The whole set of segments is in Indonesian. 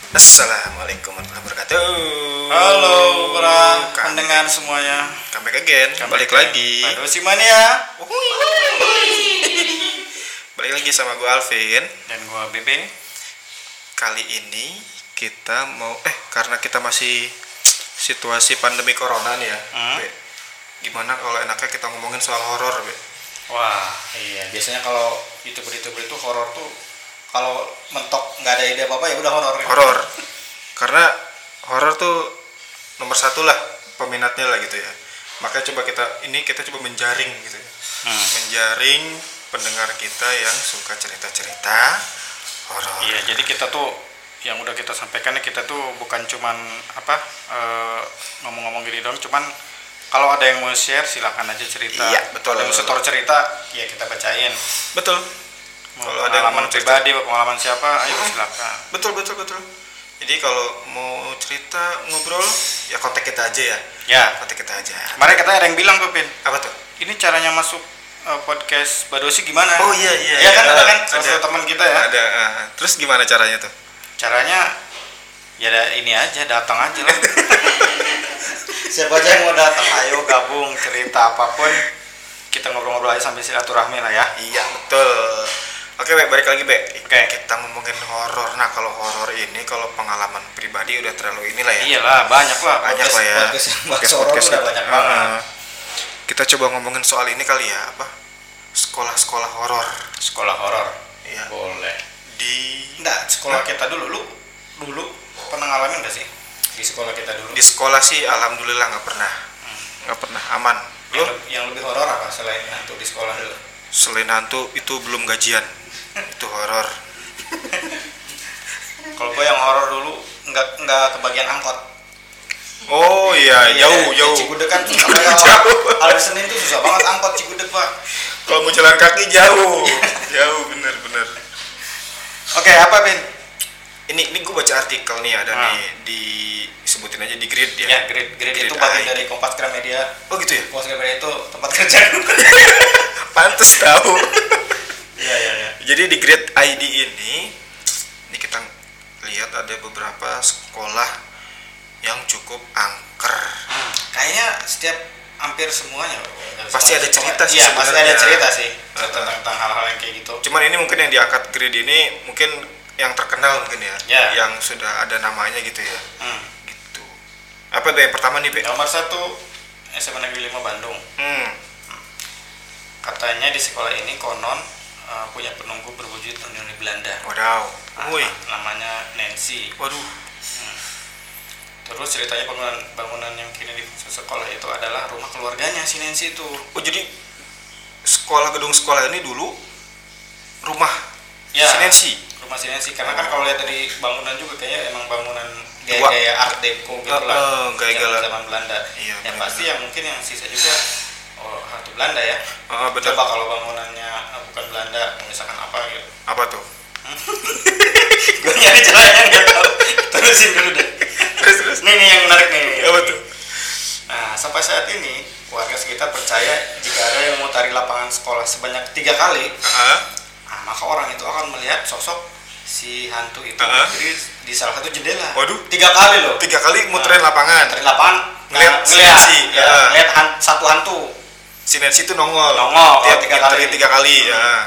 Assalamualaikum warahmatullahi wabarakatuh. Halo para Kami- pendengar semuanya. comeback again, balik lagi. Pada Iya. Simania Balik lagi sama gue Alvin. dan gua BB. Kali ini kita mau eh karena kita masih situasi pandemi corona nih ya. Hmm. Be. Gimana kalau enaknya kita ngomongin soal horor, Be? Wah, iya biasanya kalau YouTuber-YouTuber itu horor tuh kalau mentok nggak ada ide apa-apa ya udah horor. Horor. karena horor tuh nomor satu lah peminatnya lah gitu ya. Makanya coba kita ini kita coba menjaring gitu ya. Hmm. Menjaring pendengar kita yang suka cerita-cerita horor. Iya, jadi kita tuh yang udah kita sampaikan kita tuh bukan cuman apa eh, ngomong-ngomong gini doang, cuman kalau ada yang mau share silakan aja cerita. Iya, betul. Ada yang setor cerita, ya kita bacain. Betul. Mau Kalau ada yang pengalaman mau cerita- pribadi, mau pengalaman siapa, ayo silakan. Betul, betul, betul. Jadi kalau mau cerita ngobrol ya kontak kita aja ya. Ya, Kontak kita aja. kemarin katanya ada yang bilang tuh Pin. Apa tuh? ini caranya masuk eh, podcast Badosi gimana? Oh, iya, iya, Iya kan iya. ada kan Ada. salah satu teman kita ya. Ada. ah. terus gimana caranya tuh? Caranya ya ada ini aja datang aja lah. siapa aja yang mau datang ayo Ayo gabung cerita apapun kita ngobrol-ngobrol aja sambil silaturahmi lah ya. Iya, betul. Oke, Be, balik lagi, Be. Oke. Kita ngomongin horor. Nah, kalau horor ini kalau pengalaman pribadi udah terlalu inilah ya. Iyalah banyak Iya lah. Banyak lah ya. Iya, podcast yang bahas horor Podcast-podcast udah gitu. banyak banget. Ah, ah. Kita coba ngomongin soal ini kali ya, apa? Sekolah-sekolah horor. Sekolah horor. Iya. Boleh. Di Enggak, sekolah kita dulu lu dulu pernah ngalamin gak sih di sekolah kita dulu? di sekolah sih alhamdulillah nggak pernah. Hmm. Nggak pernah aman. Lu? Yang, lebih- yang lebih horor apa selain hantu di sekolah dulu? Selain hantu itu belum gajian. itu horor. Kalau gua yang horor dulu nggak nggak kebagian angkot. Oh iya, jauh Iya, jauh. di Cigudeg kan apalagi Jauh. kalau hari Senin tuh susah banget angkot Cigudeg pak Kalau mau jalan kaki jauh. jauh bener bener. Oke, apa Bin? Ini ini gue baca artikel nih ada Ah. nih disebutin aja di grid ya. Ya, grade grade Grade itu A. bagian dari Kompas Gramedia. Oh gitu ya. Kompas Gramedia itu tempat kerja. Pantes tahu. Iya iya iya. Jadi di grade ID ini ini kita lihat ada beberapa sekolah yang cukup angker. Kayaknya setiap hampir semuanya Pasti ada cerita sih Iya, pasti sebenarnya. ada cerita sih Heeh. tentang, tentang hal-hal yang kayak gitu. Cuman ini mungkin yang diangkat grade ini mungkin yang terkenal mungkin ya, Ya. yang sudah ada namanya gitu ya. Hmm. Gitu. Apa tuh yang pertama nih, Be? Nomor satu SMA Negeri 5 Bandung. Hmm. Katanya di sekolah ini konon eh, punya penunggu berwujud penghuni Belanda. Wadaw. Woi. Ah, Namanya Nancy. Waduh. Terus ceritanya bangunan bangunan yang kini di sekolah itu adalah rumah keluarganya si Nancy itu. Oh jadi sekolah gedung sekolah ini dulu rumah Ya. si Nancy. rumah sini sih karena kan kalau lihat dari bangunan juga kayaknya emang bangunan Tua. gaya-gaya art deco Eh, gitu eh, lah gaya-gaya zaman- lah. zaman Belanda Iya, yang benar. pasti yang mungkin yang sisa juga oh, hantu Belanda ya Ah, betul. coba kalau bangunannya eh, bukan Belanda misalkan apa gitu Apa tuh? gue nyari jalannya nggak tahu terusin dulu deh Terus terus. nih nih yang menarik nih Apa tuh? nah sampai saat ini warga sekitar percaya jika ada yang mengutari lapangan sekolah sebanyak tiga kali Ah, nah, maka orang itu akan melihat sosok si hantu itu Ah. di, di salah satu jendela Waduh. tiga kali loh tiga kali muterin lapangan. dari lapangan Ngeliat nah, si ngeliat, Nancy, ya, ya. ngeliat han- satu hantu Si Nancy itu nongol. Nongol, Tiap oh, tiga muterin kali. tiga kali. Ya. Nah,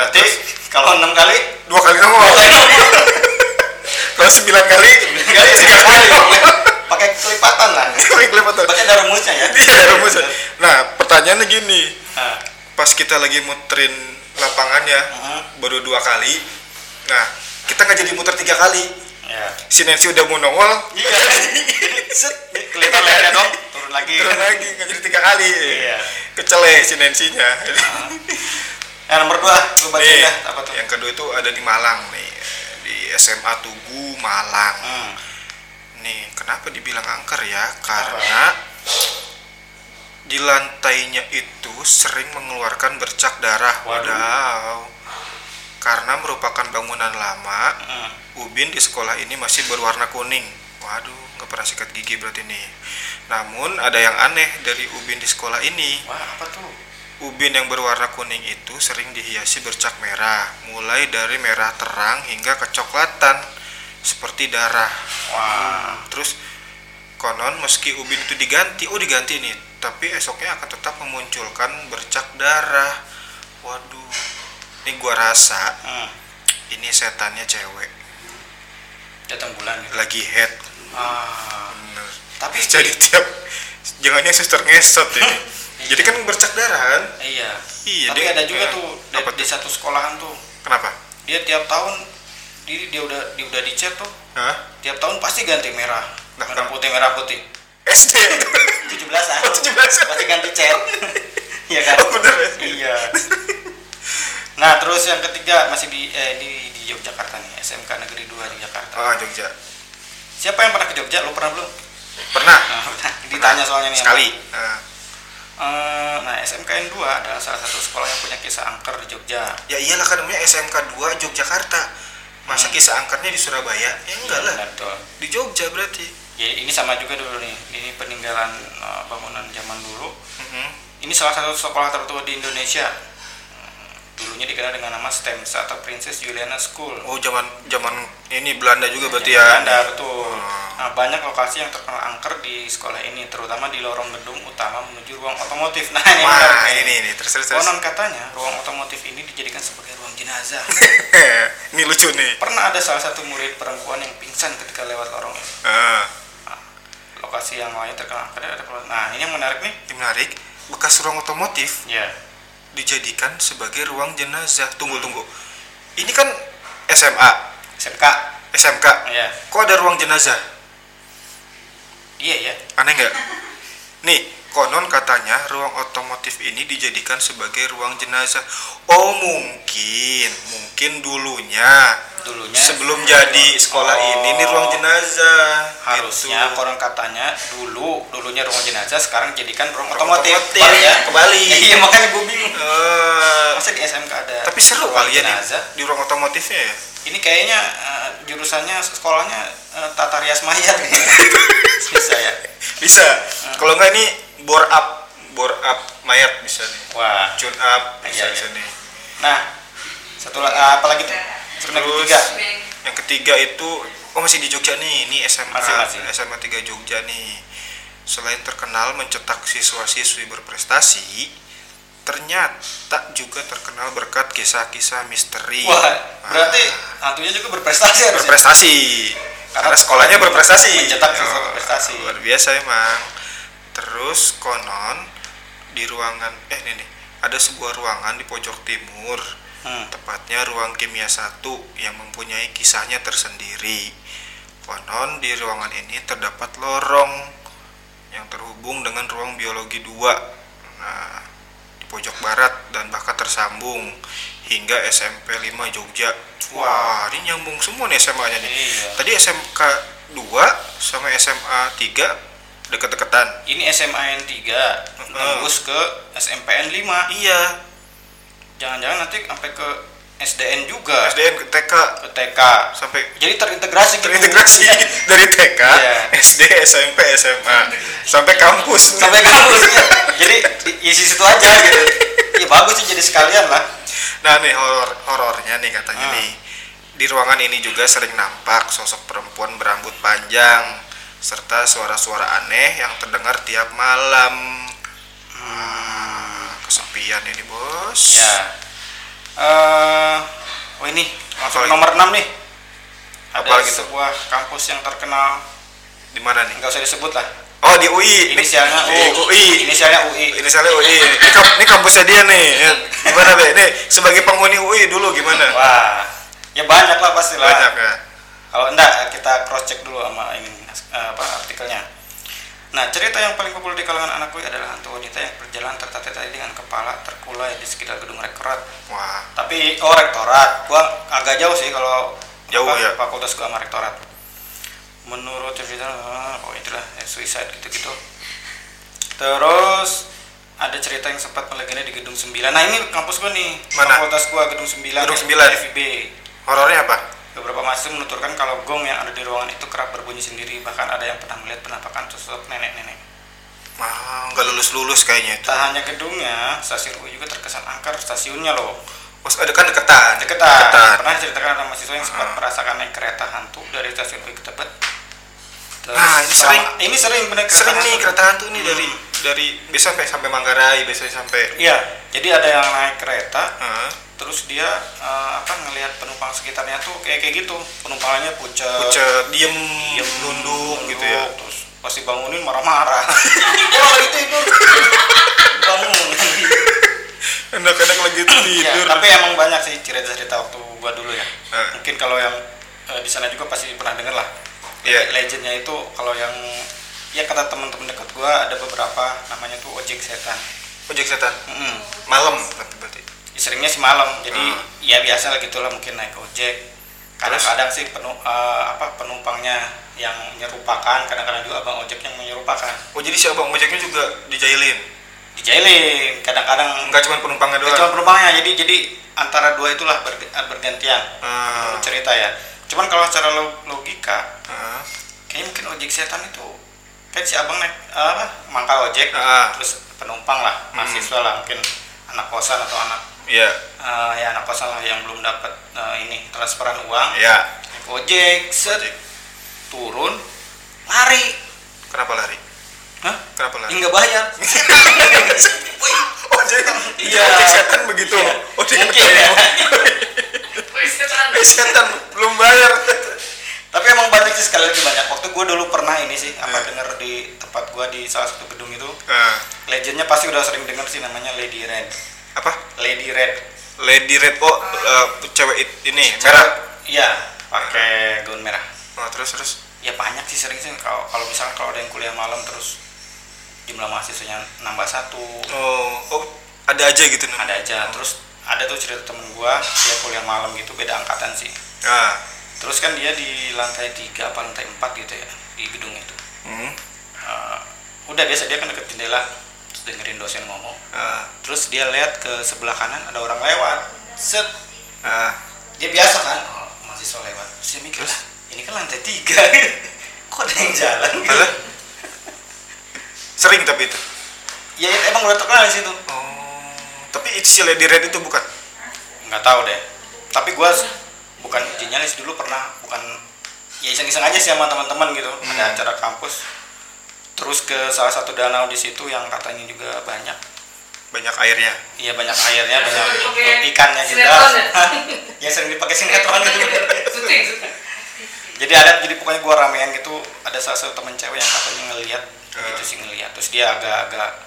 berarti terus Oh. kalau enam kali dua kali nongol. Kalau sembilan kali, tiga kali tiga kali Iya. pakai kelipatan lah Kali kelewatan. pakai darah musnya ya Iya, rumusan. Nah, pertanyaannya gini, Nah, pas kita lagi muterin lapangannya Mhm. baru dua kali, nah kita nggak jadi muter tiga kali. ya Si Nancy udah mau nongol, iya set kelihatan lehernya dong turun lagi turun lagi nggak jadi tiga kali. Iya. Kecele si Nancy-nya. ya nomor dua lu baca Nih, Iya. dah apa tuh yang kedua itu ada di Malang nih, di SMA Tugu Malang. Hmm. Nih, kenapa dibilang angker ya? Karena di lantainya itu sering mengeluarkan bercak darah. Waduh. Wadaw. Karena merupakan bangunan lama, Hmm. ubin di sekolah ini masih berwarna kuning. Waduh, nggak pernah sikat gigi berarti nih. Namun ada yang aneh dari ubin di sekolah ini. wah apa tuh Ubin yang berwarna kuning itu sering dihiasi bercak merah, mulai dari merah terang hingga kecoklatan. seperti darah. Wah. Terus konon meski ubin itu diganti, oh diganti nih, tapi esoknya akan tetap memunculkan bercak darah. Waduh. Ini gua rasa Hmm. ini setannya cewek Datang bulan gitu. lagi head. Ah. Bener. Tapi Jadi tiap jangannya suster ngesot ini. Jadi kan bercak darah kan? iya. Iya, Tapi dia- ada juga iya. tuh di, Apa di tuh? satu sekolahan tuh Kenapa? dia tiap tahun dia, dia udah dia udah dicat tuh Hah? tiap tahun pasti ganti merah Nah, merah kan. putih merah putih ah. SD itu. 17 an Oh, 17-an. pasti ganti chat iya kan Oh, bener ya? iya nah terus yang ketiga masih di eh, di, di Yogyakarta nih SMK Negeri 2 di Jakarta Oh, Jogja. siapa yang pernah ke Jogja lo pernah belum Pernah? Nah, pernah. ditanya soalnya nih Sekali. Nah, Eh, nah SMKN 2 adalah salah satu sekolah yang punya kisah angker di Jogja ya iyalah kan namanya SMK 2 Yogyakarta. Masa Hmm. kisah angkernya di Surabaya? Ya enggak lah. Iya, betul. Di Jogja berarti. Ya, ini sama juga dulu nih ini peninggalan eh, bangunan zaman dulu Mhm. Ini salah satu sekolah tertua di Indonesia. Hmm, Dulunya dikenal dengan nama Stemsa atau Princess Juliana School. Oh, zaman zaman ini Belanda juga berarti ya. Yang Belanda, betul. Hmm. Nah, banyak lokasi yang terkenal angker di sekolah ini, terutama di lorong gedung utama menuju ruang otomotif. Nah, ini benar Wah, nih. ini ini terus terus. terus. Konon katanya ruang otomotif ini dijadikan sebagai ruang jenazah. ini lucu nih. Pernah ada salah satu murid perempuan yang pingsan ketika lewat lorong. Ah, Lokasi yang lain terkenal angker ada keluar- Nah, ini yang menarik nih. ini menarik. Bekas ruang otomotif Ya. dijadikan sebagai ruang jenazah. Tunggu tunggu. Ini kan SMA, SMK. SMK. Ya. Kok ada ruang jenazah? Iya ya. Aneh nggak? Nih, konon katanya ruang otomotif ini dijadikan sebagai ruang jenazah. Oh mungkin, mungkin dulunya Dulunya sebelum jadi sekolah Oh. ini ini ruang jenazah. harusnya Gitu. konon katanya dulu dulunya ruang jenazah sekarang jadikan ruang Ruang otomotif, otomotif, Kebalik ya kebalik. iya makanya gue bingung Eh, masa di SMK ada tapi seru ruang kali ya di, jenazah di ruang otomotifnya ya. ini kayaknya eh, jurusannya sekolahnya eh, tata rias mayat bisa ya Bisa. Kalau nggak ini bore up, bore up mayat bisa nih. wah Tune up bisa, Iya, iya. bisa nih. nah satu la- eh, apa lagi tuh sebenarnya Terus- ketiga Yang ketiga itu oh masih di Jogja nih, ini SMA Masih, masih. SMA 3 Jogja nih. Selain terkenal mencetak siswa-siswi berprestasi, ternyata juga terkenal berkat kisah-kisah misteri. wah Ah, berarti hantunya juga berprestasi harusnya berprestasi. Karena sekolahnya berprestasi. Oh, mencetak siswa berprestasi. luar biasa emang. Terus konon di ruangan eh ini nih, ada sebuah ruangan di pojok timur Hmm. tepatnya ruang kimia 1 yang mempunyai kisahnya tersendiri. Konon di ruangan ini terdapat lorong yang terhubung dengan ruang biologi 2. Nah, di pojok barat dan bahkan tersambung hingga SMP 5 Jogja. Wah, ini nyambung semua nih SMA-nya nih. Iya. Tadi SMK 2 sama SMA 3 deket-deketan. ini Hmm. SMAN 3 nembus ke SMPN 5 Iya, jangan-jangan nanti sampai ke SDN juga SDM ke TK ke TK sampai jadi terintegrasi gitu. terintegrasi dari TK, Iya. SD, SMP, SMA sampai kampus. sampai kampus jadi di- isi situ aja gitu ya bagus sih jadi sekalian lah Nah nih horor horornya nih katanya Ah. nih di ruangan ini juga sering nampak sosok perempuan berambut panjang serta suara-suara aneh yang terdengar tiap malam. Hmm. Ah, kesepian ini bos. ya eh oh ini Apa lagi? langsung nomor 6 nih Apa ada lagi tuh? sebuah kampus yang terkenal Di mana nih? nggak usah disebut lah Oh di UI. Ini inisialnya Di UI. inisialnya UI Inisialnya UI. Ini, kamp- ini kampusnya dia nih. Ya, Gimana be? Nih sebagai penghuni UI dulu gimana? wah ya banyak lah pasti lah Banyak ya. Kalau enggak, kita cross check dulu sama ini eh, apa artikelnya. Nah, cerita yang paling populer di kalangan anak UI adalah hantu wanita yang berjalan tertatih-tatih dengan kepala terkulai di sekitar gedung rektorat. Wah. Tapi oh rektorat, gua agak jauh sih kalau Jauh apa, ya? fakultas gua sama rektorat. Menurut cerita, ah, oh itulah eh, suicide gitu-gitu. Terus ada cerita yang sempat melegenda di gedung 9. Nah, ini kampus gua nih. Mana? Fakultas gua gedung ya, 9. Gedung 9. FIB. Horornya apa? Beberapa mahasiswa menuturkan kalau gong yang ada di ruangan itu kerap berbunyi sendiri, bahkan ada yang pernah melihat penampakan sosok nenek-nenek. Wah, nggak lulus lulus kayaknya itu. Tak hanya gedungnya, stasiun UI juga terkesan angker stasiunnya loh. Pos ada kan deketan. Deketan. Pernah ceritakan ada mahasiswa yang Ah. sempat merasakan naik kereta hantu dari stasiun UI ke Tebet. Terus Nah, ini selama- sering. ini sering benar kereta Sering nih hantu. kereta hantu nih Hmm. dari dari biasanya sampai sampai Manggarai, biasanya sampai Iya, jadi ada yang naik kereta, Heeh. terus dia eh, apa ngelihat penumpang sekitarnya tuh kayak kayak gitu, penumpangnya pucat, pucet, diem, diem, nunduk gitu ya. terus pasti bangunin marah-marah. Wah itu itu bangun. Enak-enak lagi Iya, tidur. tapi emang banyak sih cerita-cerita waktu gua dulu ya. Eh. Mungkin kalau yang eh, di sana juga pasti pernah denger lah. Iya. Legendnya itu kalau yang ya kata teman-teman dekat gua ada beberapa namanya tuh ojek setan. Ojek setan Mm-mm. malam tapi berarti. Ya, seringnya sih malam jadi Hmm. ya biasa lah gitulah mungkin naik ojek kadang-kadang sih penu, eh, apa penumpangnya yang menyerupakan kadang-kadang juga abang ojek yang menyerupakan Oh jadi si abang ojeknya juga dijailin. dijailin kadang-kadang Enggak cuma penumpangnya nggak doang. cuma penumpangnya jadi jadi antara dua itulah berge- eh, bergantian Ah, cerita ya cuman kalau secara lo- logika ah, kayaknya mungkin ojek setan itu kan si abang naik eh, apa mangkal ojek Ah. terus penumpang lah Hmm. mahasiswa lah mungkin anak kosan atau anak Iya, eh, ya anak kosan lah yang belum dapat eh, ini transferan uang iya. naik ojek set turun lari Kenapa lari? Hah? Kenapa Ya, lari? nggak bayar Oh jadi Iya. ojek setan begitu. Iya. Gitu. Ojek Mungkin setan. ya. Ojek setan belum bayar. tapi emang banyak sih sekali lagi banyak waktu gue dulu pernah ini sih apa Hmm. denger di tempat gue di salah satu gedung itu Ah, legendnya pasti udah sering denger sih namanya Lady Red apa? Lady Red Lady Red oh eh, cewek it- ini merah. iya pakai gaun merah Oh, terus terus. ya banyak sih sering sih kalau kalau misalnya kalau ada yang kuliah malam terus jumlah mahasiswanya nambah satu Oh, oh ada aja gitu nih. ada aja terus ada tuh cerita temen gua dia kuliah malam gitu beda angkatan sih Ah. terus kan dia di lantai tiga apa lantai empat gitu ya di gedung itu Hmm. Eh, udah biasa dia kan deket jendela terus dengerin dosen ngomong Ah. terus dia lihat ke sebelah kanan ada orang lewat set Ah. dia biasa kan oh, mahasiswa lewat terus dia mikir lah ini kan lantai tiga kok ada yang jalan Alah. Sering tapi itu. ya emang udah terkenal di situ Oh. Tapi itu si Lady Red itu bukan. nggak tahu deh tapi gue bukan uji nyaris dulu pernah bukan ya iseng-iseng aja sih sama teman-teman gitu ada acara kampus terus ke salah satu danau di situ yang katanya juga banyak Banyak airnya. iya banyak airnya banyak Oke. ikannya juga Sinetron ya? Hah? ya sering dipakai sinetron gitu Syuting, syuting. jadi ada jadi pokoknya gua ramean gitu ada salah satu temen cewek yang katanya ngelihat Eh. gitu sih ngelihat terus dia agak-agak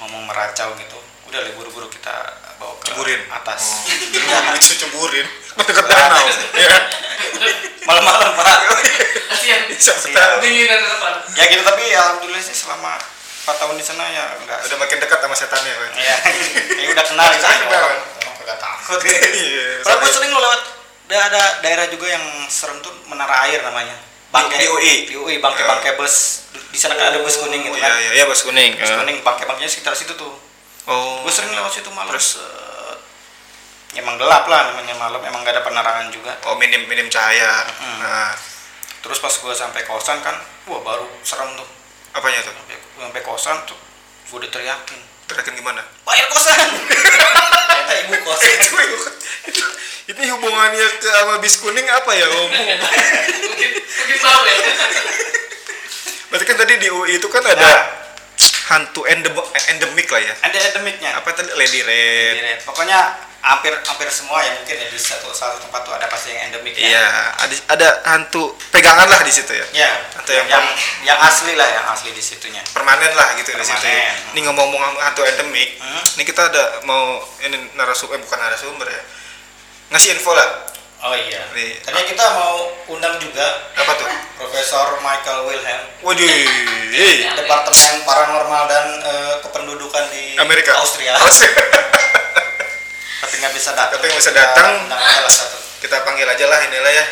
ngomong meracau gitu udah lah, buru-buru kita bawa ke Ceburin. atas Oh. itu ceburin. Dekat danau. Ya. malam-malam parah Kasihan. Siapa Iya. tahu. Dinginan di depan. ya gitu tapi ya alhamdulillah sih selama 4 tahun di sana ya enggak Udah makin dekat sama setannya. Pak. ya kayak udah kenal gitu Kenal. orang orang kagak takut Iya. kalau gue sering lewat ada ada daerah juga yang serem tuh menara air namanya bangke Di UI. di UI bangke bangke bus di sana kan ada bus kuning gitu Oh, kan Iya, iya, iya, bus kuning. bus Ah. kuning bangke bangkenya sekitar situ tuh Oh. gue sering lewat situ malam Terus? set. emang gelap lah namanya malam emang gak ada penerangan juga Oh, minim minim cahaya. Mm. Nah, terus pas gue sampai kosan kan wah baru serem tuh apanya tuh? sampai, sampai kosan tuh gue diteriakin Terakhir gimana? bayar kosan Ternyata ibu kos itu, ini hubungannya ke sama bis kuning apa ya om? Mungkin mungkin tahu ya. Berarti kan tadi di UI itu kan ada Nah. hantu endem endemik lah ya. ada endemiknya Apa tadi Lady Red? Jadi, pokoknya hampir hampir semua ya mungkin ya di satu satu tempat tuh ada pasti yang endemik ya. Iya, ada ada hantu pegangan lah di situ ya. ya Atau yang- yang yang asli lah yang asli di situnya Permanen lah gitu di situ. ya. Permanen. Ini ngomong-ngomong sama hantu endemik, Hmm. ini kita ada mau ini narasumber eh, bukan narasumber ya. Ngasih info lah. oh iya Nih. tadinya kita mau undang juga Apa tuh? Profesor Michael Wilhelm Waduh. eh. Departemen Paranormal dan eh, Kependudukan di Amerika. Austria Austria. tapi nggak bisa datang Tapi nggak bisa Kita datang. undang aja lah satu kita panggil aja lah inilah ya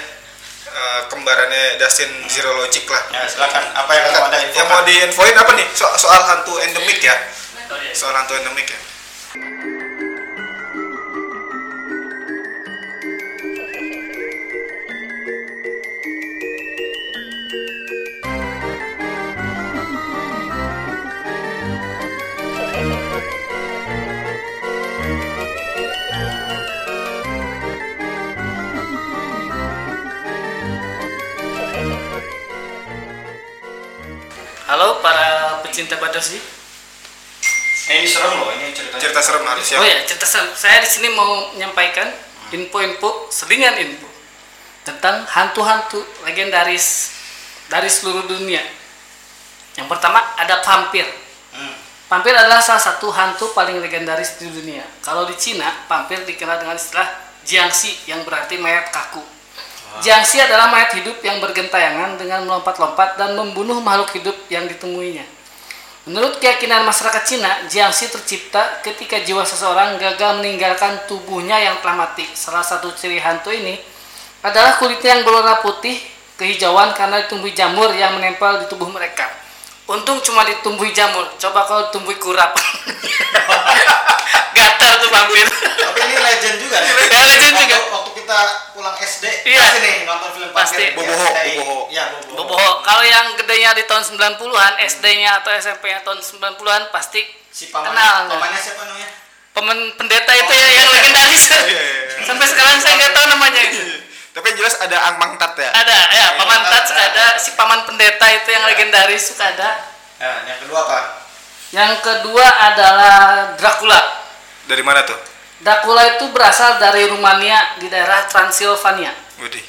eh, kembarannya Dustin Zero Logic lah. ya silakan apa yang mau ada info Yang mau diinfoin apa nih So- soal hantu endemik ya? Oh, iya. Soal hantu endemik ya. Halo para pecinta Badarsi. Eh, ini serem loh ini ceritanya. cerita serem harus siap Oh ya, cerita saya saya di sini mau menyampaikan info-info, selingan info tentang hantu-hantu legendaris dari seluruh dunia. Yang pertama ada vampir. Hmm. Vampir adalah salah satu hantu paling legendaris di dunia. Kalau di Cina, vampir dikenal dengan istilah jiangxi yang berarti mayat kaku. Jiangxi adalah mayat hidup yang bergentayangan dengan melompat-lompat dan membunuh makhluk hidup yang ditemuinya. Menurut keyakinan masyarakat Cina, jiangxi tercipta ketika jiwa seseorang gagal meninggalkan tubuhnya yang telah mati. Salah satu ciri hantu ini adalah kulitnya yang berwarna putih kehijauan karena ditumbuhi jamur yang menempel di tubuh mereka. Untung cuma ditumbuhi jamur. Coba kalau ditumbuhi kurap. Gatal tuh vampir. Tapi ini legend juga. nih. Ya, legend waktu, juga. Waktu kita pulang SD, Iya. pasti nih nonton film Vampir. Pasti. Boboho, Ya, Iya, dari- Boboho. Ya, boboho. Boboho. Kalau yang gedenya di tahun 90-an, SD-nya atau SMP-nya tahun 90-an pasti Si pamannya, Kenal. pamannya siapa namanya? pemen pendeta itu ya yang legendaris. iya, iya. Sampai sekarang saya nggak tahu namanya. tapi yang jelas ada Ang Mangtat ya Ada ya paman Tats ada si paman pendeta itu yang legendaris suka ada. Nah, yang Kedua kedua apa? Yang kedua adalah Dracula. dari mana tuh Dracula itu berasal dari Rumania di daerah Transilvania. Widih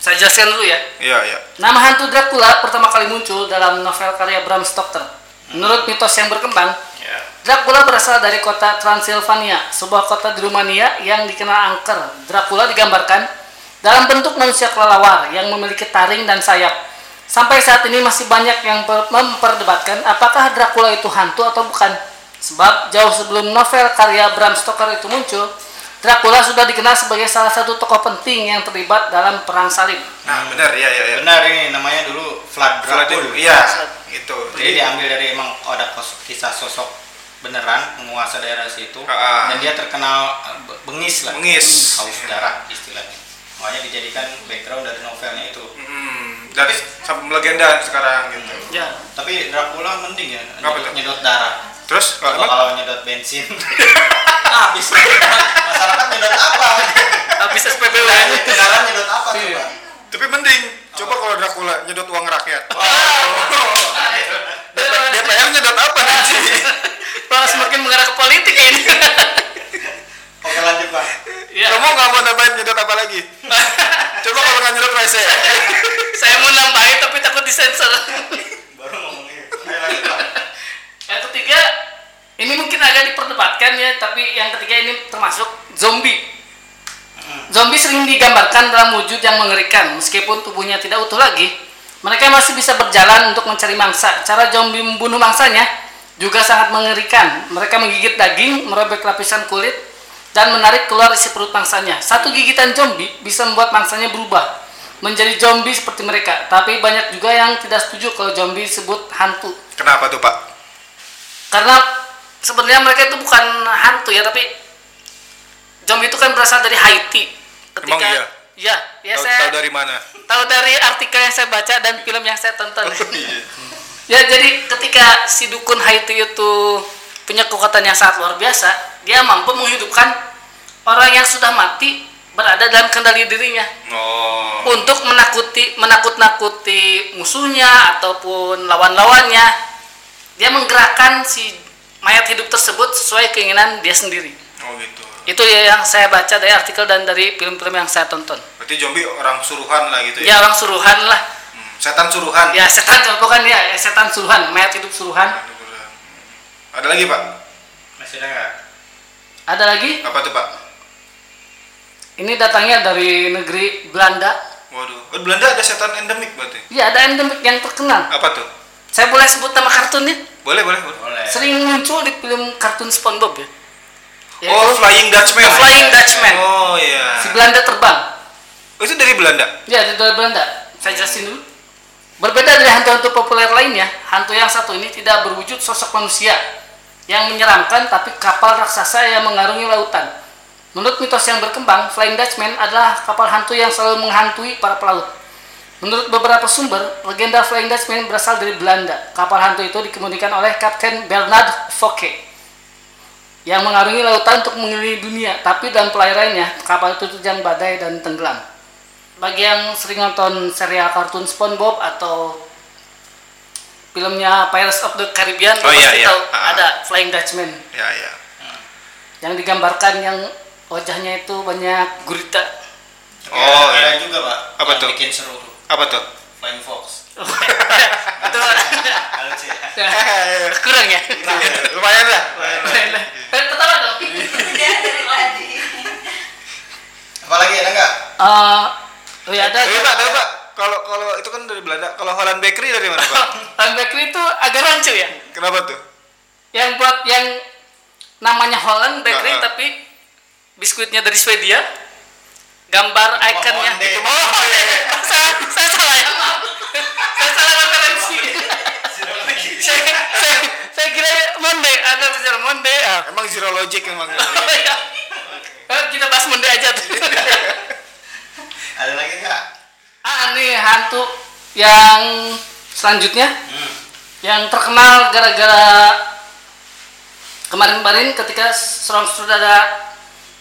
Saya jelaskan dulu ya. iya iya Nama hantu Dracula pertama kali muncul dalam novel karya Bram Stoker. Menurut mitos yang berkembang, Iya. ya. Dracula berasal dari kota Transilvania, sebuah kota di Rumania yang dikenal angker. Dracula digambarkan dalam bentuk manusia kelelawar yang memiliki taring dan sayap. Sampai saat ini masih banyak yang per- memperdebatkan apakah Dracula itu hantu atau bukan. Sebab jauh sebelum novel karya Bram Stoker itu muncul, Dracula sudah dikenal sebagai salah satu tokoh penting yang terlibat dalam perang salib. nah benar iya iya iya Benar ini namanya dulu Vlad Vladimir Dracul. iya gitu Jadi jadi diambil dari emang ada kos- kisah sosok beneran penguasa daerah situ Ah, ah. dan dia terkenal eh, be- bengis lah. Bengis. Haus darah istilahnya. Makanya dijadikan background dari novelnya itu. hmm, dari sampai legenda sekarang gitu Ya, Tapi Dracula mending ya Apa nyedot, tuh? nyedot darah. terus Kalau kalau kalau nyedot bensin habis. Masyarakat nyedot apa? habis SPBU. Kendaraan nyedot apa Iya. coba? tapi mending coba kalau Dracula nyedot uang rakyat DPR nyedot apa nanti Wah, semakin mengarah ke politik ini. Oke lanjut bang. ya, kamu nggak mau nambahin nyedot apa lagi coba kalau nggak nyedot WC saya mau nambahin tapi takut disensor. Baru ngomongnya. Ayo lanjut bang. yang ketiga, ini mungkin agak diperdebatkan ya, tapi yang ketiga ini termasuk zombie. Zombie sering digambarkan dalam wujud yang mengerikan, meskipun tubuhnya tidak utuh lagi, mereka masih bisa berjalan untuk mencari mangsa. Cara zombie membunuh mangsanya juga sangat mengerikan. Mereka menggigit daging, merobek lapisan kulit, dan menarik keluar isi perut mangsanya. Satu gigitan zombie bisa membuat mangsanya berubah menjadi zombie seperti mereka. Tapi banyak juga yang tidak setuju kalau zombie disebut hantu kenapa tuh pak karena sebenarnya mereka itu bukan hantu ya tapi zombie itu kan berasal dari Haiti ketika Emang iya? ya ya tahu saya tahu dari mana tahu dari artikel yang saya baca dan film yang saya tonton Iya. ya jadi ketika si dukun Haiti itu punya kekuatan yang sangat luar biasa dia mampu menghidupkan orang yang sudah mati berada dalam kendali dirinya oh untuk menakuti menakut-nakuti musuhnya ataupun lawan-lawannya dia menggerakkan si mayat hidup tersebut sesuai keinginan dia sendiri oh gitu itu ya yang saya baca dari artikel dan dari film-film yang saya tonton berarti zombie orang suruhan lah gitu ya, ya orang suruhan lah Hmm, setan suruhan ya setan bukan ya setan suruhan mayat hidup suruhan ada lagi pak Masih ada nggak? ada lagi apa tuh pak ini datangnya dari negeri Belanda waduh oh, Belanda ada setan endemik berarti ya ada endemik yang terkenal apa tuh saya boleh sebut nama kartunnya boleh boleh, boleh. Boleh. sering muncul di film kartun SpongeBob ya oh Flying Dutchman The Flying Dutchman. oh iya si Belanda terbang Oh, itu dari Belanda Ya, dari Belanda. Saya jelasin dulu. Berbeda dari hantu-hantu populer lainnya, hantu yang satu ini tidak berwujud sosok manusia yang menyeramkan tapi kapal raksasa yang mengarungi lautan. Menurut mitos yang berkembang, Flying Dutchman adalah kapal hantu yang selalu menghantui para pelaut. Menurut beberapa sumber, legenda Flying Dutchman berasal dari Belanda. Kapal hantu itu dikemudikan oleh Kapten Bernard Fokke yang mengarungi lautan untuk mengelilingi dunia, tapi dalam pelayarannya kapal itu terjang badai dan tenggelam bagi yang sering nonton serial kartun SpongeBob atau filmnya Pirates of the Caribbean Oh, iya, pasti iya. tahu, Ah. ada Flying Dutchman ya ya yang digambarkan yang wajahnya itu banyak gurita oh ada ya juga pak. Apa yang tuh? Bikin seru tuh. apa tuh Flying Fox. itu Halus ya. kurang ya lumayan lah Lain lah. Eh, ketawa dong Apalagi ada nggak? Eh, oh ya ada tapi pak tapi pak kalau kalau itu kan dari Belanda kalau Holland Bakery dari mana pak Hans Bakery itu agak rancu ya kenapa tuh yang buat yang namanya Holland Bakery Ah, ah. tapi biskuitnya dari Swedia gambar ikonnya Monde. itu Monde. saya saya salah ya maaf saya salah referensi saya, saya, saya kira Monde ada bicara Monde ah. emang zero logic emang Oh, iya. Eh, kita bahas Monde aja tuh Ada lagi nggak? ah nih hantu yang selanjutnya Hmm, yang terkenal gara-gara kemarin-kemarin ketika seorang saudara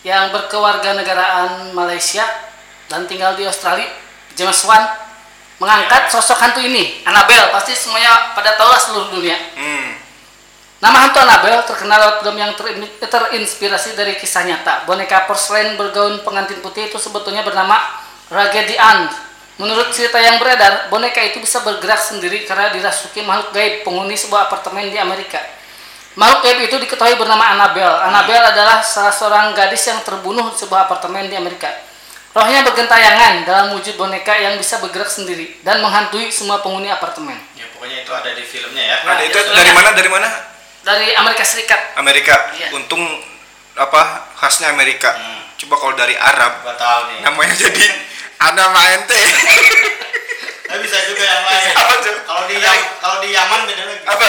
yang berkewarganegaraan Malaysia dan tinggal di Australia James Wan mengangkat sosok hantu ini Annabelle pasti semuanya pada tahu lah seluruh dunia hmm Nama hantu Annabelle terkenal lewat film yang terin- terinspirasi dari kisah nyata. Boneka porselen bergaun pengantin putih itu sebetulnya bernama Raggedy Ann. Menurut cerita yang beredar, boneka itu bisa bergerak sendiri karena dirasuki makhluk gaib penghuni sebuah apartemen di Amerika. Makhluk gaib itu diketahui bernama Annabelle. Annabelle adalah salah seorang gadis yang terbunuh di sebuah apartemen di Amerika. Rohnya bergentayangan dalam wujud boneka yang bisa bergerak sendiri dan menghantui semua penghuni apartemen. ya pokoknya itu ada di filmnya ya Nah, ada itu dari mana dari mana Dari Amerika Serikat, Amerika Iya. Hmm. untung apa khasnya Amerika coba kalau dari Arab Gua tahu nih. namanya jadi ada main teh Tapi bisa juga yang lain. Apa tuh? Kalau di Yam, kalau di Yaman beda lagi. Apa?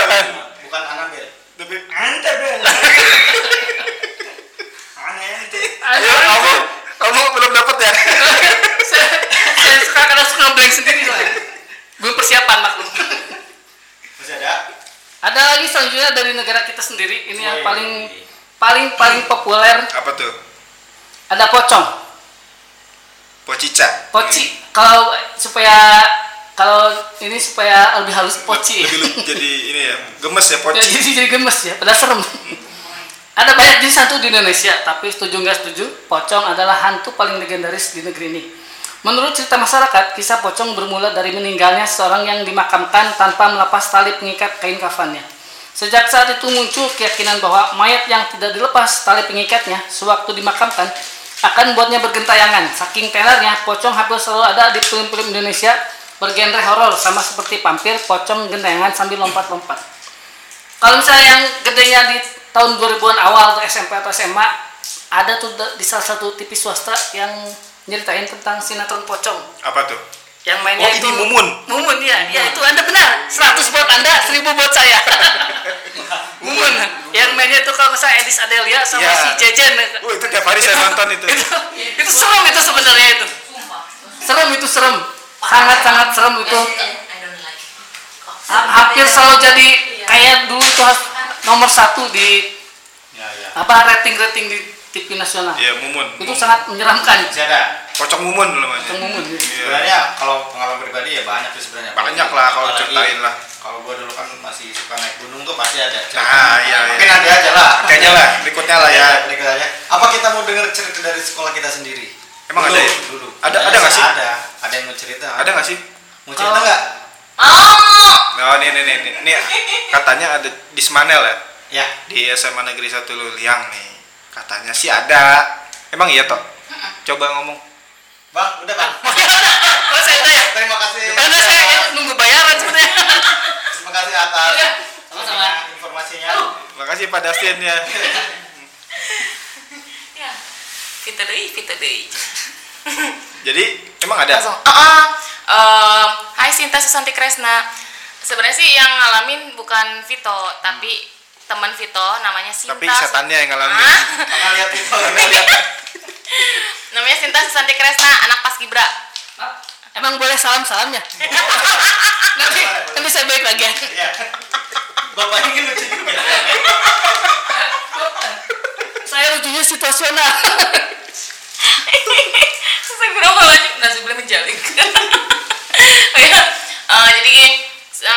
Bukan Anabel. tapi Anabel. Aneh itu. Ya, Iya. kamu kamu belum dapat ya saya, saya suka karena suka blank sendiri soalnya belum persiapan maklum Masih ada? ada lagi selanjutnya dari negara kita sendiri ini yang Oh, iya. paling paling paling populer apa tuh ada pocong pocica poci kalau supaya kalau ini supaya lebih halus poci lebih lu jadi ini ya gemes ya jadi poci jadi gemes ya padahal serem ada banyak jenis hantu di Indonesia tapi setuju nggak setuju pocong adalah hantu paling legendaris di negeri ini menurut cerita masyarakat kisah pocong bermula dari meninggalnya seorang yang dimakamkan tanpa melepas tali pengikat kain kafannya sejak saat itu muncul keyakinan bahwa mayat yang tidak dilepas tali pengikatnya sewaktu dimakamkan akan buatnya bergentayangan saking telernya pocong hampir selalu ada di film-film Indonesia bergenre horor sama seperti pampir pocong gentayangan sambil lompat-lompat kalau misalnya yang gedenya di tahun 2000-an awal atau SMP atau SMA ada tuh de- di salah satu TV swasta yang nyeritain tentang sinetron pocong apa tuh yang mainnya Oh, ini itu Mumun. Mumun ya, ya itu Anda benar. 100 buat Anda, 1000 buat saya. Mumun. Yang mainnya itu kalau nggak salah Edis Adelia Ya. sama si Jejen. Wah itu tiap hari saya nonton itu itu, itu serem itu sebenarnya itu. Serem itu serem. Sangat-sangat serem itu. Ha- Ah, hampir selalu jadi kayak dulu itu harus nomor satu di ya ya apa rating rating di TV nasional ya mumun itu sangat menyeramkan masih ada pocong mumun namanya Pocong Mumun, iya. Iya. sebenarnya kalau pengalaman pribadi ya banyak sih sebenarnya banyak lah kalau Apalagi ceritain lah kalau gua dulu kan masih suka naik gunung tuh pasti ada nah iya mungkin iya nanti aja lah kayaknya lah berikutnya lah ya Ya, berikut aja. Apa kita mau dengar cerita dari sekolah kita sendiri? Emang Dulu, ada ya? Dulu. Iya, Ada- ada nggak sih? Ada. Ada yang mau cerita? ada nggak sih Mau Oh. cerita nggak? Nah, nih, nih, nih, nih, nih, katanya ada di Semanel ya, Ya. di SMA Negeri 1 Luliang nih. Katanya sih ada. Emang iya toh? Coba ngomong. Bang, udah bang. oh saya tanya Terima kasih. karena saya ya, nunggu bayaran sebenarnya Terima kasih atas Iya. Sama-sama. Oh. informasinya. Makasih Pak Dustin ya. Kita deh, kita deh. Jadi, emang ada? Langsung. "Ah, ah, em, Hai Sinta Susanti Kresna. Sebenarnya sih yang ngalamin bukan Vito, tapi teman Vito namanya Sinta. Tapi setannya yang ngalamin. Ah, Karena lihat itu. Iya. namanya Sinta Susanti Kresna, anak Paskibra. emang boleh salam salamnya nanti nanti saya balik lagi ya. Iya. Bapak ini lucu juga. Iya. saya lucunya situasional Saya kira mau lanjut nasi boleh menjalik. Oh iya, eh, jadi gini, eh,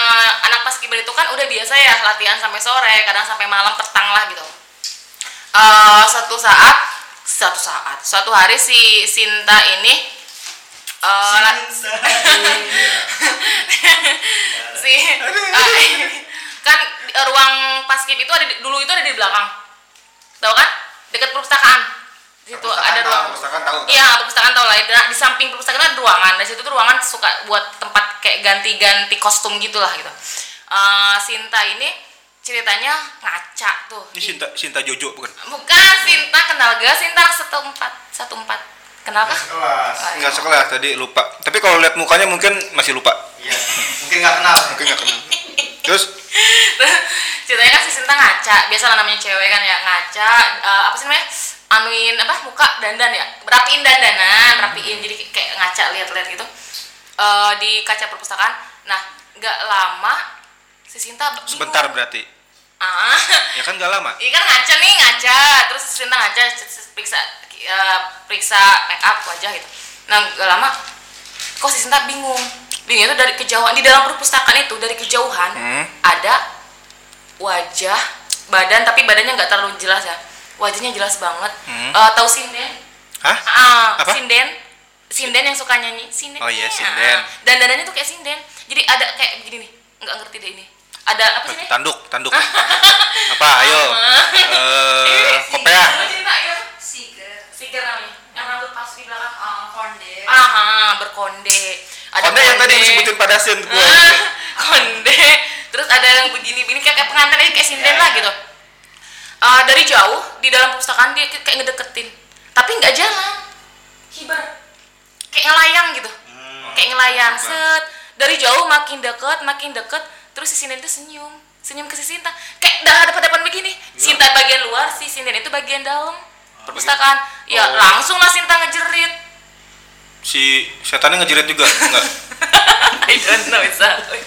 anak anak pas kibar itu kan udah biasa ya latihan sampai sore kadang sampai malam petang lah gitu Eh, satu saat satu saat suatu hari si Sinta ini eh, la- Iya. si eh, kan di- ruang paskib itu ada di- dulu itu ada di belakang tahu kan dekat perpustakaan Di situ Perpustakaan ada tahu, ruang perpustakaan kan tahu, tahu. iya perpustakaan tahu lah di, di samping perpustakaan ada ruangan dari situ tuh ruangan suka buat tempat kayak ganti-ganti kostum gitulah gitu Eh, Sinta ini ceritanya ngaca tuh Ini Sinta, Sinta Jojo bukan? bukan Sinta kenal gak Sinta satu empat satu empat kenal kah? Kelas. Ah, iya. Enggak sekelas tadi lupa. Tapi kalau lihat mukanya mungkin masih lupa. Iya. Mungkin nggak kenal. Mungkin nggak kenal. Terus Terus ceritanya kan si Sinta ngaca biasa lah namanya cewek kan ya ngaca eh, apa sih namanya anuin apa muka dandan ya rapiin dandanan rapiin jadi kayak ngaca lihat-lihat gitu Eh, di kaca perpustakaan nah nggak lama si Sinta bingung. sebentar berarti. ah Ya kan nggak lama. Iya kan ngaca nih ngaca, terus Sinta ngaca c- c- periksa eh, periksa make up wajah gitu. Nah gak lama, kok si Sinta bingung. Bingungnya tuh dari kejauhan di dalam perpustakaan itu dari kejauhan Hmm. ada wajah badan tapi badannya nggak terlalu jelas ya. Wajahnya jelas banget. Hmm. Eh, tahu sinden? Hah? Ah, Apa? sinden. Sinden yang suka nyanyi. Sinden. Oh iya, ya. sinden. Dan dandannya tuh kayak sinden. Jadi ada kayak begini nih. Nggak ngerti deh ini. Ada apa sih nih? Tanduk, tanduk. Apa? Ayo. Eh, kopiah. cerita ya. Siger, Stiker namanya. Yang rambut pas di belakang. ah. konde, Aha, berkonde. Konde yang tadi disebutin pada Sin gua. Ah, konde. Terus ada yang begini-begini kayak kayak pengantin aja kayak sinden Iya, lah gitu. Ah, dari jauh di dalam perpustakaan dia kayak ngedeketin. Tapi nggak jalan. Hibar. Kayak ngelayang gitu. Hmm. Kayak ngelayang set. Dari jauh makin deket, makin deket. Terus si sinden itu senyum senyum ke si Sinta kayak dah depan-depan begini Sinta bagian luar si Sinden itu bagian dalam perpustakaan ya Oh. langsung lah Sinta ngejerit Si setannya ngejerit juga enggak? I don't know exactly.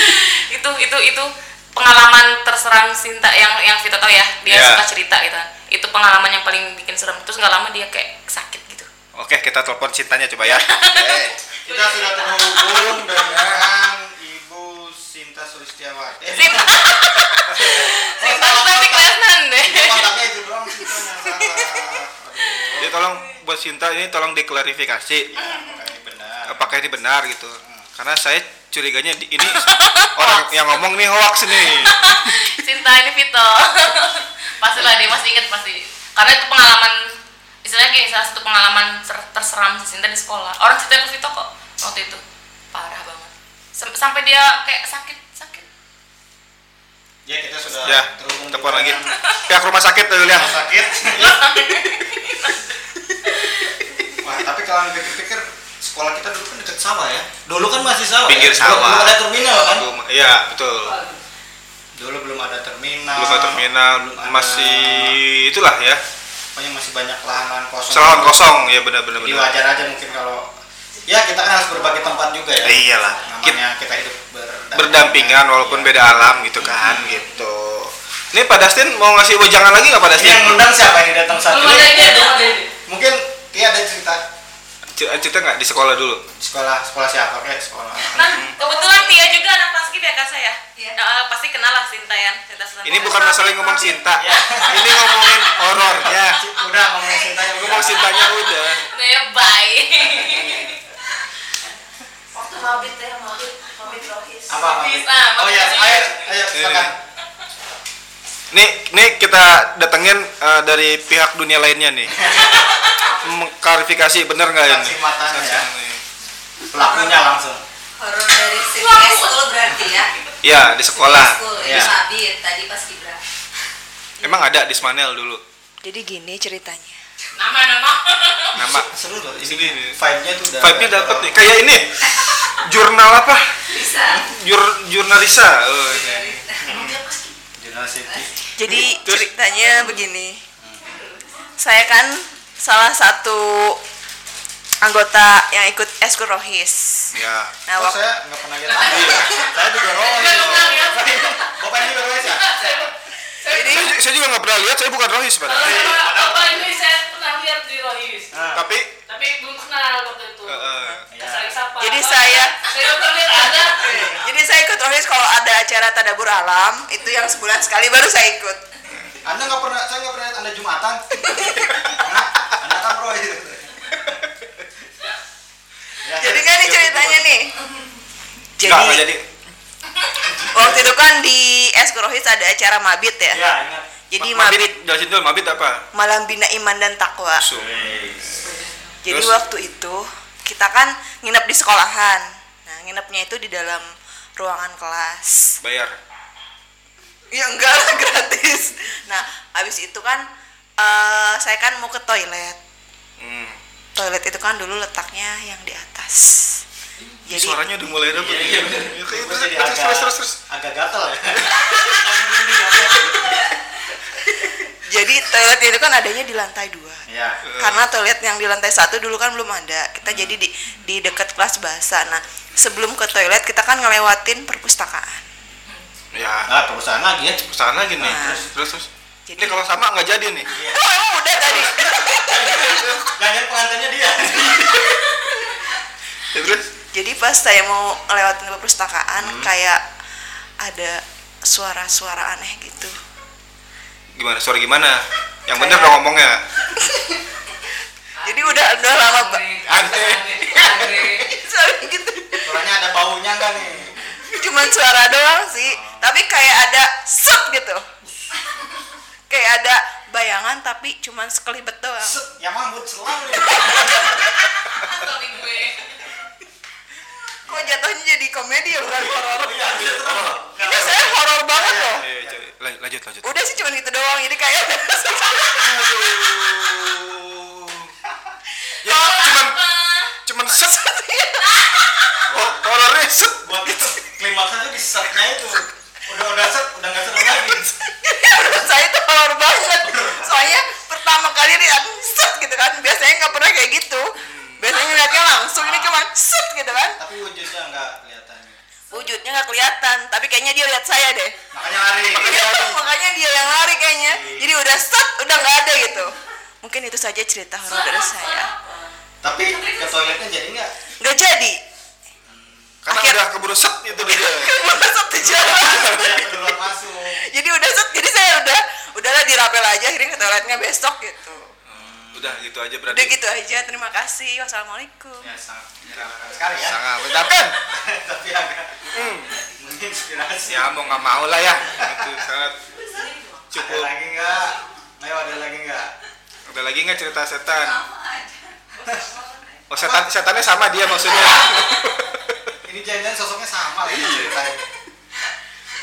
itu itu itu pengalaman terseram Sinta yang yang Vita tahu ya dia Iya. suka cerita gitu itu pengalaman yang paling bikin serem terus nggak lama dia kayak sakit gitu Oke, kita telepon Sintanya coba ya. Eh, kita sudah terhubung dengan Ibu Sinta Sulistiawati. Eh, Sinta bukan di kelas deh Ibu kontaknya itu doang Sinta yang salah. Aduh. Jadi tolong buat Sinta ini tolong diklarifikasi Ya, makanya benar. apakah ini benar gitu. Karena saya curiganya di- ini orang yang ngomong nih hoax nih. Sinta ini Vito pastilah dia masih inget pasti karena itu pengalaman istilahnya kayak salah satu pengalaman ter- terseram si Sinta di sekolah orang cerita ke Vito kok waktu itu parah banget Sam- sampai dia kayak sakit sakit Ya, kita sudah Ya, terhubung telepon lagi. dengan Pihak rumah sakit tuh ya. rumah sakit. Wah, tapi kalau dipikir-pikir sekolah kita dulu kan dekat sawah ya. Dulu kan masih sawah. Pinggir ya? sawah. Belum belum ada terminal kan? Rumah- Iya, betul. Dulu belum ada terminal. belum ada terminal belum ada- masih itulah ya Pokoknya masih banyak lahan kosong. selawan kosong ya benar-benar Jadi benar wajar aja mungkin kalau ya kita kan harus berbagi tempat juga ya. Ya iyalah kita Namanya kita hidup berdampingan. berdampingan walaupun beda alam gitu kan gitu ini Pak Dustin mau ngasih wejangan lagi nggak Pak Ini Dustin Iya, yang ngundang siapa ini datang saat Belum ini? ada ide, belum ada ide. Mungkin dia ada cerita C- cerita nggak di sekolah dulu sekolah sekolah siapa kayak sekolah. Nah, Hmm. kebetulan Tia juga anak paskib ya kak saya. Iya. Nah, pasti kenal lah Sinta ya. Sinta Sinta. ini bukan masalah ngomong cinta Iya. Ya. ini ngomongin horornya Udah ngomongin cintanya gue ngomong cintanya udah Ya, baik. waktu mabit teh mabit, mabit rohis. apa? Bisa, oh ya, makasih. ayo Iya, ayo silakan. nih nih kita datengin eh, dari pihak dunia lainnya nih mengklarifikasi bener nggak ini Saksi matanya ya. Pelakunya langsung. Horor dari CPS school berarti ya. ya di sekolah School Ya. ya. Mabit tadi pas kibra. emang ada di Smanel dulu Jadi gini ceritanya. Nama-nama. nama Seru loh Ini gini. ini. Vibe-nya tuh udah. vibe-nya dapet nih kayak ini jurnal apa Bisa. Jur, jurnalisa oh, ini. Jurnal safety. Jadi Terus- ceritanya begini. Saya kan salah satu anggota yang ikut eskul rohis. ya Nah, Oh, waktu saya nggak pernah lihat tadi. saya juga rohis. Bapak juga rohis ya? saya, ju- saya juga nggak pernah lihat saya bukan rohis padahal Bapak ini saya pernah lihat di Rohis. Nah, tapi eh, tapi belum kenal waktu itu Heeh. Nggak saling sapa Jadi Apa? saya- saya dokter lihat ada Jadi saya ikut rohis kalau ada acara tadabur alam itu yang sebulan sekali baru saya ikut. Anda nggak pernah, saya nggak pernah lihat Anda jumatan. Karena Anda kan bro gitu. Ya, Jadi kan nih ceritanya nih. Nggak, nggak Jadi jadi waktu itu kan di Esku Rohis ada acara mabit Iya. ya. Ya, ingat. Jadi Ma- mabit jelasin dulu mabit apa malam bina iman dan takwa. Usum. Jadi Terus? waktu itu kita kan nginep di sekolahan. Nah, nginepnya itu di dalam ruangan kelas. bayar Ya enggak lah gratis. Nah, habis itu kan eh, saya kan mau ke toilet. hmm. Toilet itu kan dulu letaknya yang di atas. Jadi suaranya udah mulai dapet Iya, iya. Terus, Jadi terus, agak- terus terus terus agak gatel ya. jadi toilet itu kan adanya di lantai dua. Iya. Ya. Karena toilet yang di lantai satu dulu kan belum ada. Kita jadi di di dekat kelas bahasa. Nah, sebelum ke toilet kita kan ngelewatin perpustakaan. ya Nah, Ah, perusahaan lagi ya. kesana gini Nah. terus terus terus Jadi- ini kalau sama nggak jadi nih Oh, emang udah tadi. Jangan pengantinnya dia. Ya, terus Jadi pas saya mau ngelewatin perpustakaan kayak ada suara-suara aneh gitu. gimana suara gimana yang bener dong Kayak- ngomongnya Jadi udah udah lama ba- aneh Sorry gitu. Soalnya ada baunya nggak nih? Cuman suara doang sih, tapi kayak ada set gitu. Kayak ada bayangan tapi cuman sekelibet doang. Set, yang mambut selalu. Tapi gue Kok jatuhnya jadi komedi ya bukan horor? Iya, gitu. Ini saya horor banget loh. Ayo, coba. Lan- Ya, lanjut lanjut Iya, Udah sih cuman itu doang. Jadi kayak ya cuman cuman set gitu. Oh, horornya set Buat klimaksnya tuh di setnya itu. Udah udah set, udah nggak seru lagi. Jadi menurut saya itu horor banget. Soalnya pertama kali lihat set gitu kan. Biasanya nggak pernah kayak gitu. Biasanya lihatnya langsung ini cuma set gitu kan. Tapi wujudnya nggak kelihatan. Wujudnya nggak kelihatan, tapi kayaknya dia lihat saya deh. Iya, Makanya lari. Makanya dia yang lari kayaknya. Jadi udah set, udah nggak ada gitu. Mungkin itu saja cerita horor dari saya. Tapi ke toiletnya jadi nggak? Nggak jadi. karena Akhir- udah keburu set itu dia Udah gitu. set di jalan. Iya, keluar masuk. Jadi udah set, jadi saya udah udahlah dirapel aja akhirnya ke toiletnya besok gitu. udah gitu aja Udah berarti gitu aja. Terima kasih. Wassalamualaikum. Ya sangat menyeramkan sekali ya. sangat Hmm. mendapatkan Tapi agak menginspirasi. ya mau nggak mau lah ya itu sangat Ada cukup lagi nggak? Ayo ada lagi nggak? ada lagi nggak cerita setan oh setan setannya sama dia maksudnya Ini jangan-jangan sosoknya sama Iya. lagi ceritanya.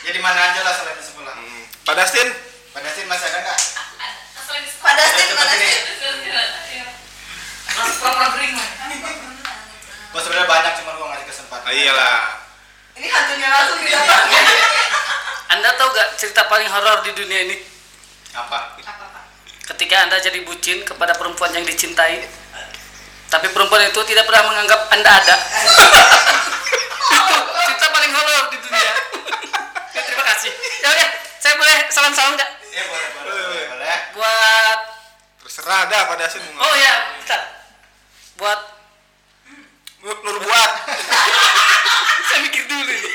Ya di mana aja lah selain di sebelah. Hmm. Pak Dustin Pada sin masih ada nggak? Pada sih, Coba pada sini. sih. Kurang-kurang kering lah Gua sebenarnya banyak cuma gua ngasih kesempatan. oh, iyalah Ini hantunya langsung di dalam. anda tahu gak cerita paling horor di dunia ini Apa? ketika anda jadi bucin kepada perempuan yang dicintai tapi perempuan itu tidak pernah menganggap anda ada itu cerita paling horor di dunia ya, terima kasih ya udah saya boleh salam-salam nggak Ya boleh boleh boleh. boleh. buat terserah dah Pak Dustin mau oh ya bentar. buat Nur- Nur buat saya mikir dulu ini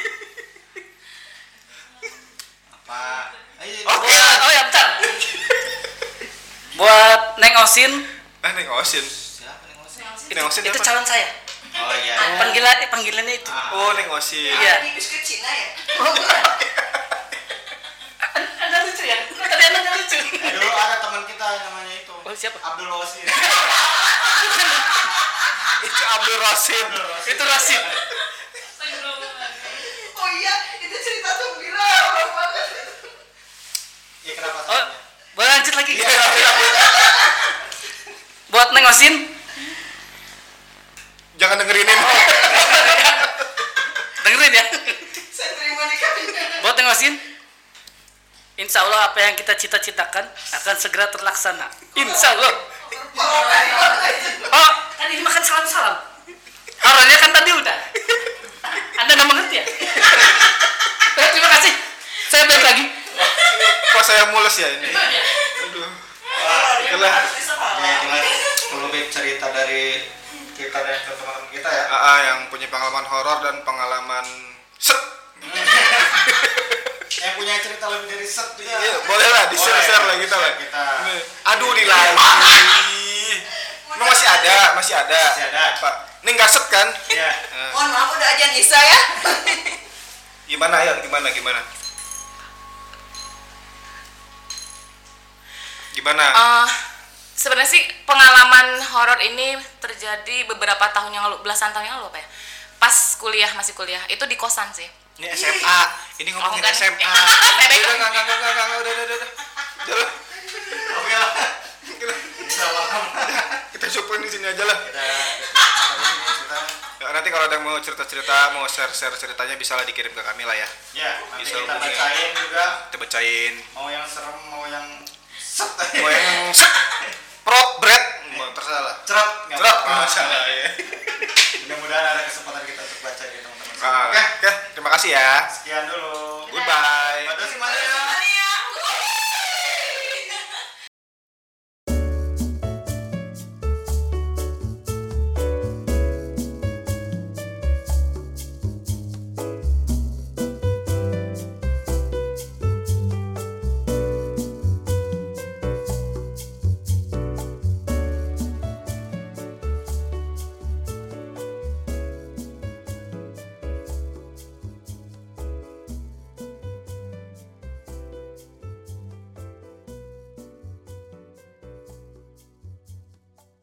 Apa? Ayo. Oke. buat oh ya bentar buat Neng Osin nah nih Osin Siapa iya. yang ngurusin? itu, Neng Osin itu apa? calon saya Oh iya. panggilan eh, panggilannya itu Ah, oh neng Osin Iya. Ini biskuit Cina ya? anda lucu ya tadi anda lucu eh, dulu ada teman kita yang namanya itu. oh siapa Abdul Wasin. itu Abdul Rosin itu Rasid Oh iya, itu cerita gembira horor banget. Ya kenapa Oh, salahnya? boleh lanjut lagi? Iya, Buat nengosin, jangan dengerinin dengerin ya. Saya terima di kabinet. Buat nengosin, insya Allah apa yang kita cita-citakan akan segera terlaksana. Insya Allah. Oh, tadi dimakan salam-salam. Horornya kan tadi udah. Anda nggak mengerti ya? Eh, Terima kasih. Saya balik lagi. kok saya mules ya ini aduh Wah, itulah ya jelas. Kalau baik cerita cerita dari kita dan teman-teman kita ya AA Ah, yang punya pengalaman horor dan pengalaman set yang punya cerita lebih dari set juga Iya, boleh lah di share share lah kita lah. Share kita Iya. Aduh di lagi. Emang masih ada, masih ada. Masih ada. Pak, ini nggak set kan? Iya. Eh, Mohon maaf udah aja Nisa ya. Gimana ya? Gimana? Gimana? Gimana? Eh, sebenarnya sih pengalaman horor ini terjadi beberapa tahun yang lalu, belasan tahun yang lalu apa ya? Pas kuliah masih kuliah, itu di kosan sih. Ini SMA. Ini ngomongin Oh, enggak. SMA. Saya baik. Udah, enggak, enggak, enggak, enggak, enggak, udah, udah, udah, udah. Udah. oke lah Kita cukupin di sini aja lah. kita sampai sini cerita Ya, Nanti kalau ada yang mau cerita-cerita, mau share-share ceritanya bisa lah dikirim ke kami lah ya. ya nanti Bisa kita hubungi. bacain juga Kita bacain. mau yang serem mau yang set Mau yang set, prot, bread, mau terserah lah. cerap nggak Cerap, apa-apa. nggak masalah ya. mudah-mudahan ada kesempatan kita untuk baca ya teman-teman Ah, oke Oke, terima kasih ya. sekian dulu Goodbye.